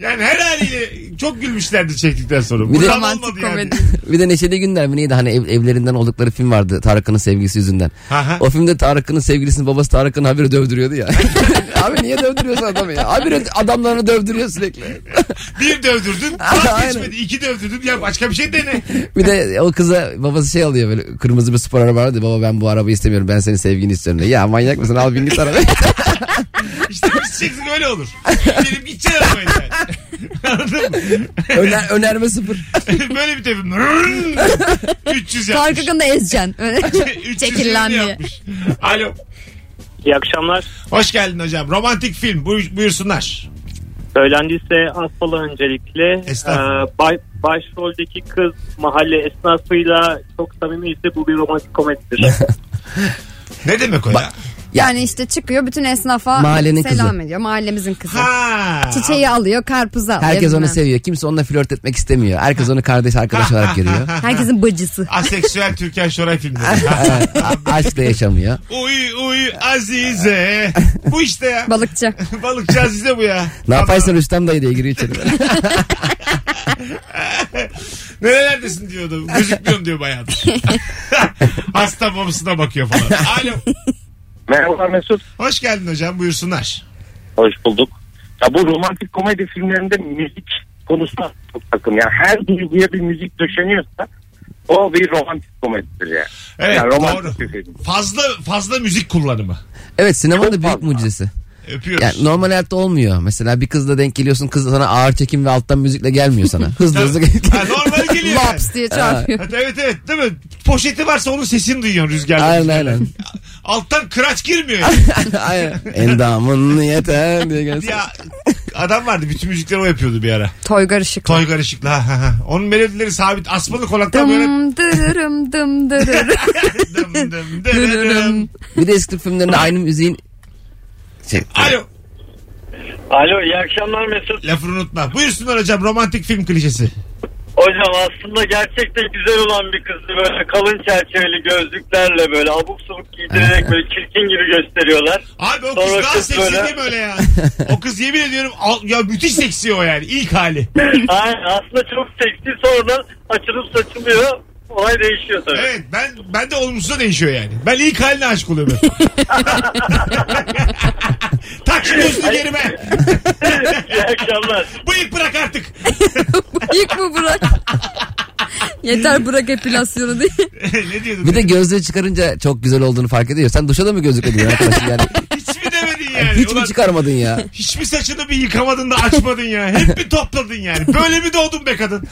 Yani her haliyle çok gülmüşlerdi çektikten sonra. Bu
de-
tam
Romantik
olmadı yani.
komedi.
Bir de Neşeli Günler mi neydi hani ev- evlerinden oldukları film vardı Tarık'ın sevgilisi yüzünden.
Aha.
O filmde Tarık'ın sevgilisinin babası Tarık'ın habire dövdürüyordu ya. Abi niye dövdürüyorsun adamı ya? Habire adamlarını dövdürüyor sürekli.
Bir dövdürdün
Aynen.
vazgeçmedi. İki dövdürdün ya başka bir şey dene.
Bir de o kıza babası şey alıyor böyle kırmızı bir spor araba vardı. Baba ben bu arabayı istemiyorum ben senin sevgini istiyorum. diyor. Ya manyak mısın al bin git arabaya.
İşte biz çeksin öyle olur. Benim gideceğin arabayla yani. Anladın mı?
Öner, önerme sıfır.
Böyle bir tepim. 300
Tarık
yapmış.
Akan'ı da ezeceksin.
Şey,
Öyle.
300
Çekirlen diye.
yapmış. Alo.
İyi akşamlar.
Hoş geldin hocam. Romantik film. Buyur- buyursunlar.
Söylendiyse asfalı öncelikle
Estağfurullah.
e, bay- başroldeki kız mahalle esnafıyla çok samimi ise bu bir romantik komedidir.
Ne demek o ya?
Yani işte çıkıyor bütün esnafa
Mahallenin
selam
kızı.
ediyor. Mahallemizin kızı.
Ha.
Çiçeği alıyor, karpuzu alıyor.
Herkes onu
bilmem.
seviyor. Kimse onunla flört etmek istemiyor. Herkes onu kardeş arkadaş olarak görüyor.
Herkesin bacısı.
Aseksüel Türkan Şoray filmleri.
Evet, a- aşkla yaşamıyor.
uy uy Azize. Bu işte ya.
Balıkçı.
Balıkçı Azize bu ya.
Ne yaparsın Rüstem dayı diye giriyor içeri.
Nerelerdesin diyordu. Gözükmüyorum diyor bayağıdır. Hasta babasına bakıyor falan. Alo.
Merhaba Mesut.
Hoş geldin hocam buyursunlar.
Hoş bulduk. Ya bu romantik komedi filmlerinde müzik konusuna çok takım. Yani her duyguya bir müzik döşeniyorsa o bir romantik komedidir yani.
Evet
yani romantik
doğru.
bir film.
Fazla fazla müzik kullanımı.
Evet sinemanın da
Çok
büyük
fazla.
mucizesi.
Öpüyoruz.
Yani normal hayatta olmuyor. Mesela bir kızla denk geliyorsun. Kız da sana ağır çekim ve alttan müzikle gelmiyor sana. Hızlı hızlı
Ha, normal geliyor. yani.
Laps diye çarpıyor.
Evet, evet evet değil mi? Poşeti varsa onun sesini duyuyorsun rüzgarda.
Aynen aynen.
Alttan kıraç girmiyor. yani.
aynen. Endamın yeter diye gelsin.
ya adam vardı bütün müzikleri o yapıyordu bir ara.
Toygar ışık.
Toygar Işıklı. ha, ha, ha. Onun melodileri sabit. Asmalı kolaktan böyle
Dım dırırım dım dırırım.
dım dım dım dım.
Bir de eski filmlerinde aynı müziğin şey,
Alo.
Alo iyi akşamlar Mesut.
Lafını unutma. Buyursunlar hocam romantik film klişesi.
Hocam aslında gerçekten güzel olan bir kızdı. Böyle kalın çerçeveli gözlüklerle böyle abuk subuk giydirerek böyle çirkin gibi gösteriyorlar.
Abi o kız
Sonra
daha
kız
seksi
böyle-
değil mi öyle ya? O kız yemin ediyorum al- ya müthiş seksi o yani ilk hali.
Aynen, aslında çok seksi sonra açılıp saçılıyor. Olay değişiyor tabii.
Evet ben ben de olumsuza değişiyor yani. Ben ilk haline aşık oluyorum. hep. tak şu gözlüğü yerime.
İyi akşamlar.
Bıyık bırak artık.
İlk bu bırak. Yeter bırak epilasyonu diye.
ne diyordun?
Bir de gözlüğü çıkarınca çok güzel olduğunu fark ediyor. Sen duşa da mı gözlükle duruyorsun arkadaş? Yani
Hiç mi demedin yani?
hiç
Ulan,
mi çıkarmadın ya?
hiç mi saçını bir yıkamadın da açmadın ya? Hep mi topladın yani? Böyle mi doğdun be kadın?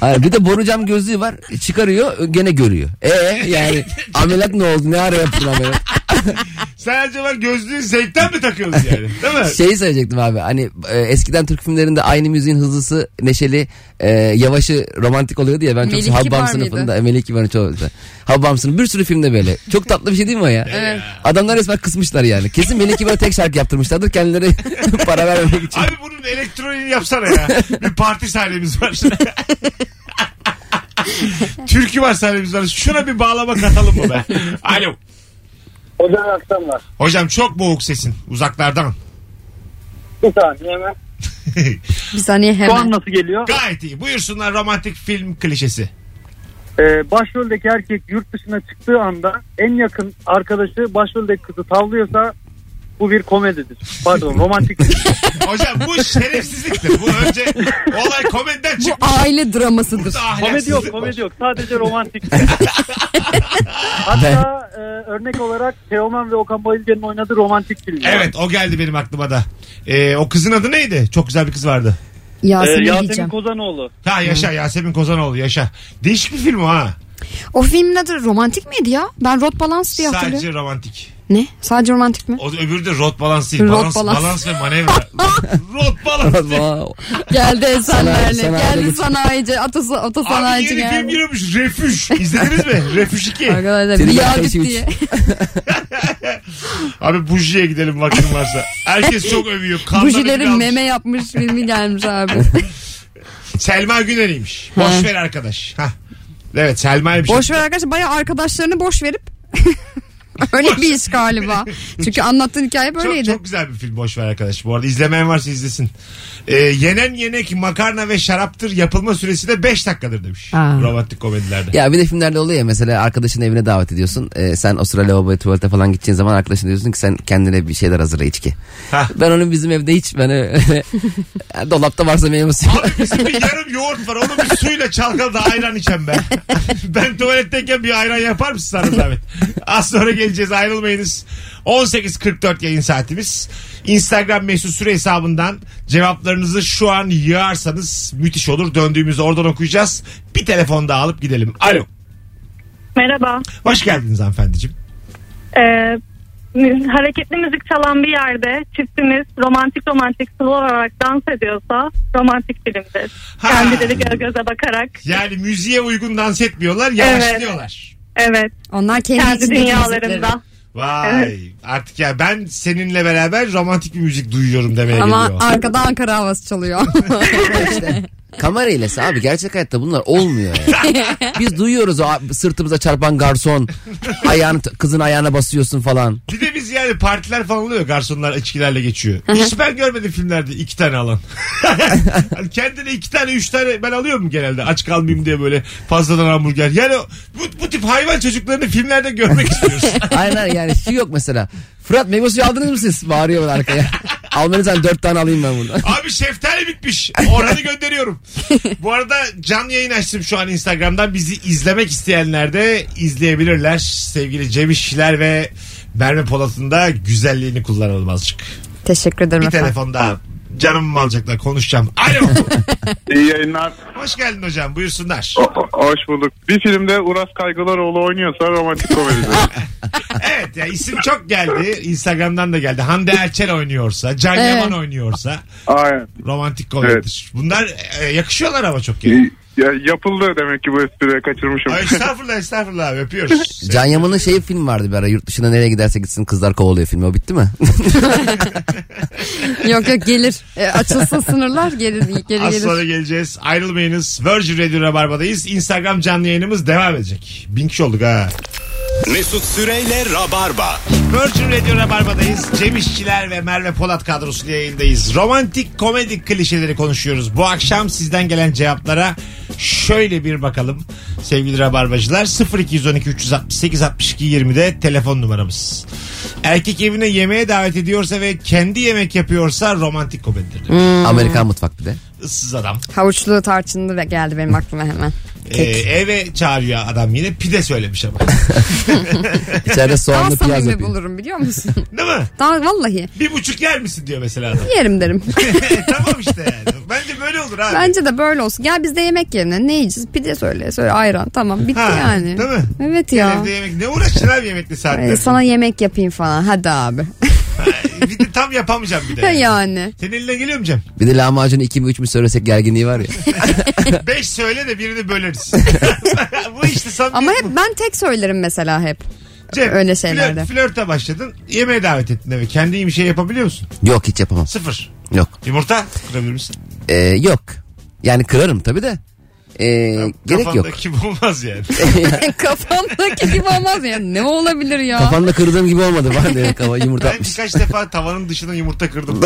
Hayır, bir de borucam gözlüğü var. Çıkarıyor gene görüyor. Ee yani ameliyat ne oldu? Ne ara yaptın ameliyat?
Sen acaba gözlüğü zevkten mi takıyorsun yani? Değil mi?
Şeyi söyleyecektim abi. Hani e, eskiden Türk filmlerinde aynı müziğin hızlısı, neşeli, e, yavaşı, romantik oluyordu ya. Ben çok
Melih Kibar
Habam
mıydı?
sınıfında. E, Melih Kibar'ın çoğu. Habam sınıfı. Bir sürü filmde böyle. Çok tatlı bir şey değil mi o ya?
Evet.
Adamlar resmen kısmışlar yani. Kesin Melih Kibar'a tek şarkı yaptırmışlardır. Kendileri para vermemek için.
Abi bunun elektroniğini yapsana ya. Bir parti sahnemiz var. Türkü var sahnemiz var. Şuna bir bağlama katalım mı be? Alo.
Hocam iyi akşamlar.
Hocam çok boğuk sesin. Uzaklardan.
Bir saniye hemen.
Bir saniye
Şu an
hemen.
nasıl geliyor?
Gayet iyi. Buyursunlar romantik film klişesi.
Ee, başroldeki erkek yurt dışına çıktığı anda en yakın arkadaşı başroldeki kızı tavlıyorsa bu bir komedidir. Pardon romantik. şey.
Hocam bu şerefsizliktir. Bu önce olay komediden
Bu
çıkmış.
aile dramasıdır.
Burada
Komedi
ahlaksızlık
yok,
var.
komedi yok. Sadece romantik.
şey. Hatta e, örnek olarak Teoman ve Okan Bayülgen'in oynadığı romantik film.
Evet o geldi benim aklıma da. Ee, o kızın adı neydi? Çok güzel bir kız vardı.
Ee,
Yasemin
Yasemin
diyeceğim.
Kozanoğlu.
Ha yaşa Yasemin Kozanoğlu yaşa. Değişik bir film o ha.
O filmin adı romantik miydi ya? Ben Rod Balance diye hatırlıyorum.
Sadece romantik.
Ne? Sadece romantik mi?
O öbürü de rot balans değil.
Rot
balans,
balans.
balans ve manevra. rot balans.
Wow.
Geldi eserlerle.
Sanayi-
Geldi
sanayi-
sanayici. Atası,
Abi
otosanayici
yeni film
geldi.
giriyormuş. Refüj. İzlediniz mi? Refüj 2.
Arkadaşlar
Seni
bir
ben
yağ
kardeşim
bitti.
Abi bujiye gidelim vaktin varsa. Herkes çok övüyor. Kanla
Bujilerin
ödül almış.
meme yapmış filmi gelmiş abi.
Selma Güner'iymiş. Boş
Ha.
ver arkadaş. Ha. Evet şey- Selma'ymış.
boş ver arkadaşlar bayağı arkadaşlarını boş verip öyle bir iş galiba. Çünkü anlattığın hikaye
çok,
böyleydi.
çok güzel bir film boş ver arkadaş. Bu arada izlemeyen varsa izlesin. Ee, yenen yenek makarna ve şaraptır yapılma süresi de 5 dakikadır demiş.
Aa.
Romantik komedilerde.
Ya bir de filmlerde oluyor ya mesela arkadaşın evine davet ediyorsun. Ee, sen o sıra lavaboya tuvalete falan gideceğin zaman arkadaşın diyorsun ki sen kendine bir şeyler hazırla içki.
Hah.
Ben onu bizim evde hiç ben öyle- dolapta varsa meyve suyu.
Abi bizim bir yarım yoğurt var. Onu bir suyla çalkala da ayran içem ben. ben tuvaletteyken bir ayran yapar mısın sana zahmet? Az sonra geleceğiz ayrılmayınız. 18.44 yayın saatimiz. Instagram mesut süre hesabından cevaplarınızı şu an yığarsanız müthiş olur. Döndüğümüzde oradan okuyacağız. Bir telefon daha alıp gidelim. Alo.
Merhaba.
Hoş geldiniz hanımefendiciğim.
Ee, mü- hareketli müzik çalan bir yerde çiftimiz romantik romantik slow olarak dans ediyorsa romantik filmdir.
Ha.
Kendileri göz göze bakarak.
Yani müziğe uygun dans etmiyorlar, yavaşlıyorlar.
Evet.
Onlar kendi,
Kendi
içindeki
dünyalarında.
Vay artık ya ben seninle beraber romantik bir müzik duyuyorum demeye
müzikleri. Ama
geliyor.
arkada Ankara havası çalıyor.
Kamera ilesi abi gerçek hayatta bunlar olmuyor yani. Biz duyuyoruz o abi sırtımıza çarpan garson. Ayağını, kızın ayağına basıyorsun falan.
Bir de biz yani partiler falan oluyor. Garsonlar içkilerle geçiyor. Hiç ben görmedim filmlerde iki tane alan. Hani kendine iki tane üç tane ben alıyorum genelde. Aç kalmayayım diye böyle fazladan hamburger. Yani o- bu, bu tip hayvan çocuklarını filmlerde görmek istiyoruz.
Aynen yani şu yok mesela. Fırat meyve suyu aldınız mı siz? Bağırıyor böyle arkaya. Almanızdan dört tane alayım ben buradan.
Abi şeftali bitmiş. Orhan'ı gönderiyorum. Bu arada can yayın açtım şu an Instagram'dan. Bizi izlemek isteyenler de izleyebilirler. Sevgili Cemişler ve Merve Polat'ın da güzelliğini kullanalım azıcık.
Teşekkür ederim
Bir
efendim.
telefon daha. Canımı mı alacaklar konuşacağım. Alo.
İyi yayınlar.
Hoş geldin hocam buyursunlar.
hoş bulduk. Bir filmde Uras Kaygılaroğlu oynuyorsa romantik komedidir.
Evet ya isim çok geldi. Instagram'dan da geldi. Hande Erçel oynuyorsa, Can
Evet.
Yaman oynuyorsa
Aynen.
romantik komedidir. Bunlar e, yakışıyorlar ama çok ya.
Ya, yapıldı demek ki bu espriye kaçırmışım.
Ay, estağfurullah estağfurullah abi, öpüyoruz.
Can Yaman'ın şey film vardı bir ara yurt dışına nereye giderse gitsin kızlar kovalıyor filmi o bitti mi?
Yok yok gelir. E, açılsın sınırlar gelir geri
Az
gelir.
sonra geleceğiz. Ayrılmayınız. Virgin Radio Rabarba'dayız. Instagram canlı yayınımız devam edecek. Bin kişi olduk ha.
Mesut Süreyle Rabarba.
Virgin Radio Rabarba'dayız. Cem İşçiler ve Merve Polat kadrosuyla yayındayız. Romantik komedi klişeleri konuşuyoruz. Bu akşam sizden gelen cevaplara şöyle bir bakalım sevgili Rabarbacılar. 0212 368 62 20'de telefon numaramız. Erkek evine yemeğe davet ediyorsa ve kendi yemek yapıyorsa romantik komedidir. demiş.
Hmm.
Hmm.
Amerikan mutfak bir de.
Issız adam.
Havuçlu tarçınlı ve- geldi benim aklıma hemen.
Ee, eve çağırıyor adam yine pide söylemiş ama.
İçeride
Daha
soğanlı piyaz
samimi
yapıyor.
bulurum biliyor musun?
Değil mi?
Daha vallahi
Bir buçuk yer misin diyor mesela adam.
yerim derim.
tamam işte yani. Bence böyle olur abi.
Bence de böyle olsun. Gel biz de yemek yerine ne yiyeceğiz? Pide söyle. Söyle ayran. Tamam bitti
Ha,
yani.
değil mi?
Evet
Sen
ya.
Evde yemek. Ne uğraşın abi yemekli saatler?
Ee, sana yemek yapayım falan. Hadi abi.
bir de tam yapamayacağım bir de.
yani.
Senin eline geliyor mu Cem?
Bir de lahmacun 2 mi 3 mü söylesek gerginliği var ya.
Beş söyle de birini böleriz. Bu işte samimiyet
Ama hep
bu.
ben tek söylerim mesela hep.
Cem,
öyle şeylerde.
flört- flörte başladın. Yemeğe davet ettin eve. Kendi bir şey yapabiliyor musun?
Yok hiç yapamam.
Sıfır.
Yok.
Yumurta kırabilir misin?
Ee, yok. Yani kırarım tabii de. Ee, gerek yok.
Kafandaki bu olmaz yani.
Kafamdaki gibi olmaz ya. Ne olabilir ya?
Kafanda kırdığım gibi olmadı bana diye kafa yumurta
Ben
atmış.
birkaç defa tavanın dışına yumurta kırdım.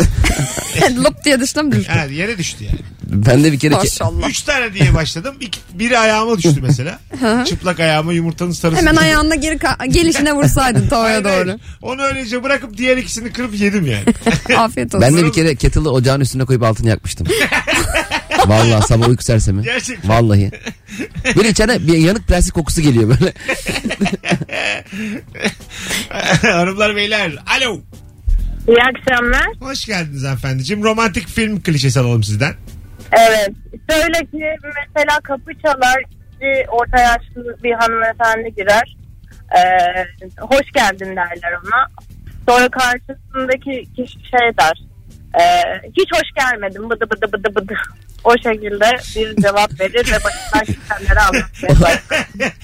Lop diye dışına mı düştü?
Yani yere düştü yani.
Ben de bir kere ki,
Maşallah.
Üç tane diye başladım. İki, biri ayağıma düştü mesela. Çıplak ayağıma yumurtanın sarısı.
Hemen ayağına geri ka- gelişine vursaydın tavaya
Hayır, hayır.
doğru.
Onu öylece bırakıp diğer ikisini kırıp yedim yani.
Afiyet olsun.
ben de bir kere kettle'ı ocağın üstüne koyup altını yakmıştım. Vallahi sabah uyku sersemi.
Gerçekten.
Vallahi. Böyle içeride bir yanık plastik kokusu geliyor böyle.
Hanımlar beyler. Alo.
İyi akşamlar.
Hoş geldiniz hanımefendiciğim. Romantik film klişesi alalım sizden.
Evet. Şöyle ki mesela kapı çalar işte orta yaşlı bir hanımefendi girer. Ee, hoş geldin derler ona. Sonra karşısındaki kişi şey der. Ee, hiç hoş gelmedin bıdı bıdı bıdı bıdı. O şekilde bir cevap verir ve başından çıkanları anlatır.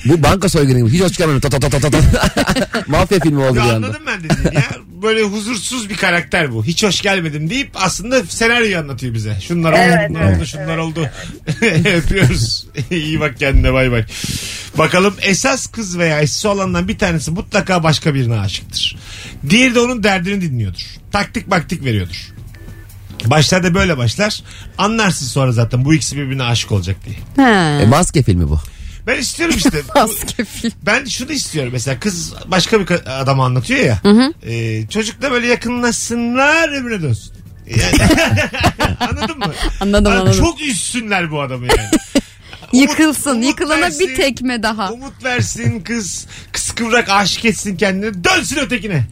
Bu banka soygunu gibi. Hiç hoş gelmedin. Ta ta ta ta ta ta. Mafya filmi oldu bir
Ya
anda.
anladım ben dediğini ya. Böyle huzursuz bir karakter bu. Hiç hoş gelmedim deyip aslında senaryoyu anlatıyor bize. Şunlar oldu,
Evet,
bunlar oldu, şunlar oldu. Öpüyoruz. İyi bak kendine bay bay. Bakalım esas kız veya esisi olandan bir tanesi mutlaka başka birine aşıktır. Diğeri de onun derdini dinliyordur. Taktik maktik veriyordur. Başlarda böyle başlar. Anlarsın sonra zaten bu ikisi birbirine aşık olacak diye.
E, maske filmi bu.
Ben istiyorum işte.
Maske film.
Ben şunu istiyorum mesela kız başka bir ka- adama anlatıyor ya. Ee, çocukla böyle yakınlaşsınlar ömrüne dönsün. Yani, anladın mı?
Anladım
Abi
anladım.
Çok üstsünler bu adamı yani.
Yıkılsın.
umut
Yıkılana
versin.
bir tekme daha.
Umut versin kız kıskıvrak aşık etsin kendini dönsün ötekine.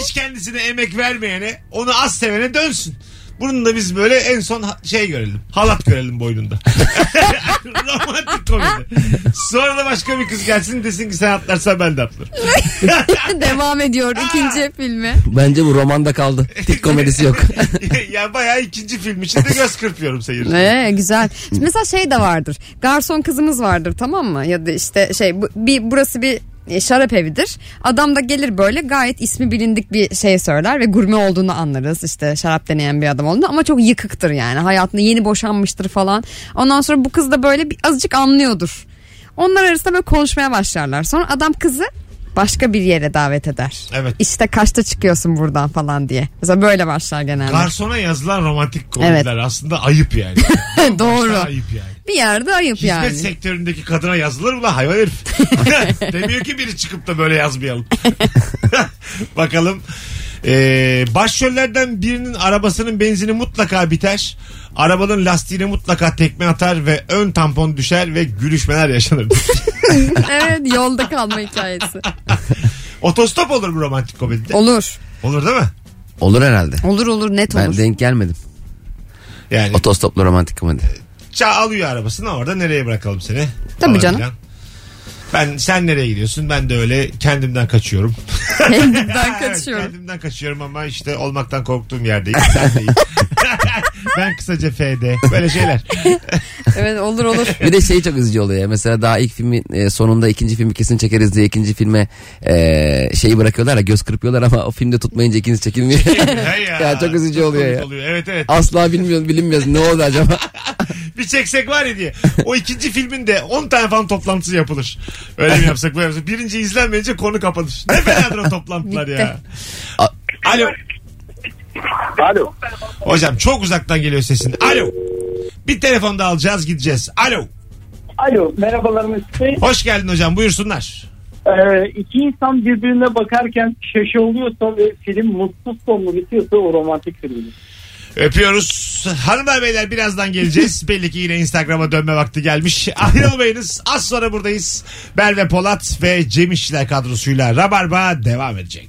Hiç kendisine emek vermeyene onu az sevene dönsün. Bunun da biz böyle en son ha- şey görelim. Halat görelim boynunda. Romantik komedi. Sonra da başka bir kız gelsin desin ki sen atlarsan ben de atlarım.
Devam ediyor ikinci filmi.
Bence bu romanda kaldı. Tik komedisi yok.
ya bayağı ikinci film için de göz kırpıyorum seyirci.
Ee, güzel. Şimdi mesela şey de vardır. Garson kızımız vardır tamam mı? Ya da işte şey bu- bir burası bir e, şarap evidir. Adam da gelir böyle gayet ismi bilindik bir şey söyler ve gurme olduğunu anlarız. İşte şarap deneyen bir adam olduğunu ama çok yıkıktır yani. Hayatında yeni boşanmıştır falan. Ondan sonra bu kız da böyle bir azıcık anlıyordur. Onlar arasında böyle konuşmaya başlarlar. Sonra adam kızı başka bir yere davet eder.
Evet.
İşte kaçta çıkıyorsun buradan falan diye. Mesela böyle başlar genelde.
Garsona yazılan romantik komediler aslında ayıp yani.
Doğru.
ayıp yani.
Bir yerde ayıp
Hizmet
yani.
sektöründeki kadına yazılır mı lan hayvan herif? Demiyor ki biri çıkıp da böyle yazmayalım. Bakalım. Ee, başrollerden birinin arabasının benzini mutlaka biter. Arabanın lastiğine mutlaka tekme atar ve ön tampon düşer ve gülüşmeler yaşanır.
evet yolda kalma hikayesi.
Otostop olur bu romantik komedide.
Olur.
Olur değil mi?
Olur herhalde.
Olur olur net
Ben
olur.
denk gelmedim.
Yani
Otostoplu romantik komedi.
ça alıyor arabasını orada nereye bırakalım seni?
Tabii
Falan
canım.
filan. Ben sen nereye gidiyorsun? Ben de öyle kendimden kaçıyorum.
Kendimden
Evet,
kaçıyorum.
kendimden kaçıyorum ama işte olmaktan korktuğum yerdeyim. Sen değil. ben kısaca FD. Böyle şeyler.
Evet olur olur.
Bir de şey çok üzücü oluyor. ya. Mesela daha ilk filmin e, sonunda ikinci filmi kesin çekeriz diye ikinci filme e, şeyi bırakıyorlar ya göz kırpıyorlar ama o filmde tutmayınca ikincisi çekilmiyor.
Hey
ya, çok üzücü oluyor
komik
ya.
Evet evet.
Asla bilmiyoruz bilinmiyoruz ne oldu acaba?
Bir çeksek var ya diye. O ikinci filmin de 10 tane falan toplantısı yapılır. Öyle mi yapsak böyle mi yapsak? Birinci izlenmeyince konu kapanır. Ne fenadır o toplantılar ya.
A-
Alo.
Alo.
Hocam çok uzaktan geliyor sesin. Alo. Bir telefon daha alacağız gideceğiz. Alo.
Alo merhabalar Mesut Bey.
Hoş geldin hocam buyursunlar.
Ee, iki insan birbirine bakarken şaşı oluyorsa ve film mutsuz sonlu bitiyorsa o romantik filmdir.
Öpüyoruz. Hanımlar beyler birazdan geleceğiz. Belli ki yine Instagram'a dönme vakti gelmiş. Ayrılmayınız. Az sonra buradayız. Merve Polat ve Cem İşçiler kadrosuyla Rabarba devam edecek.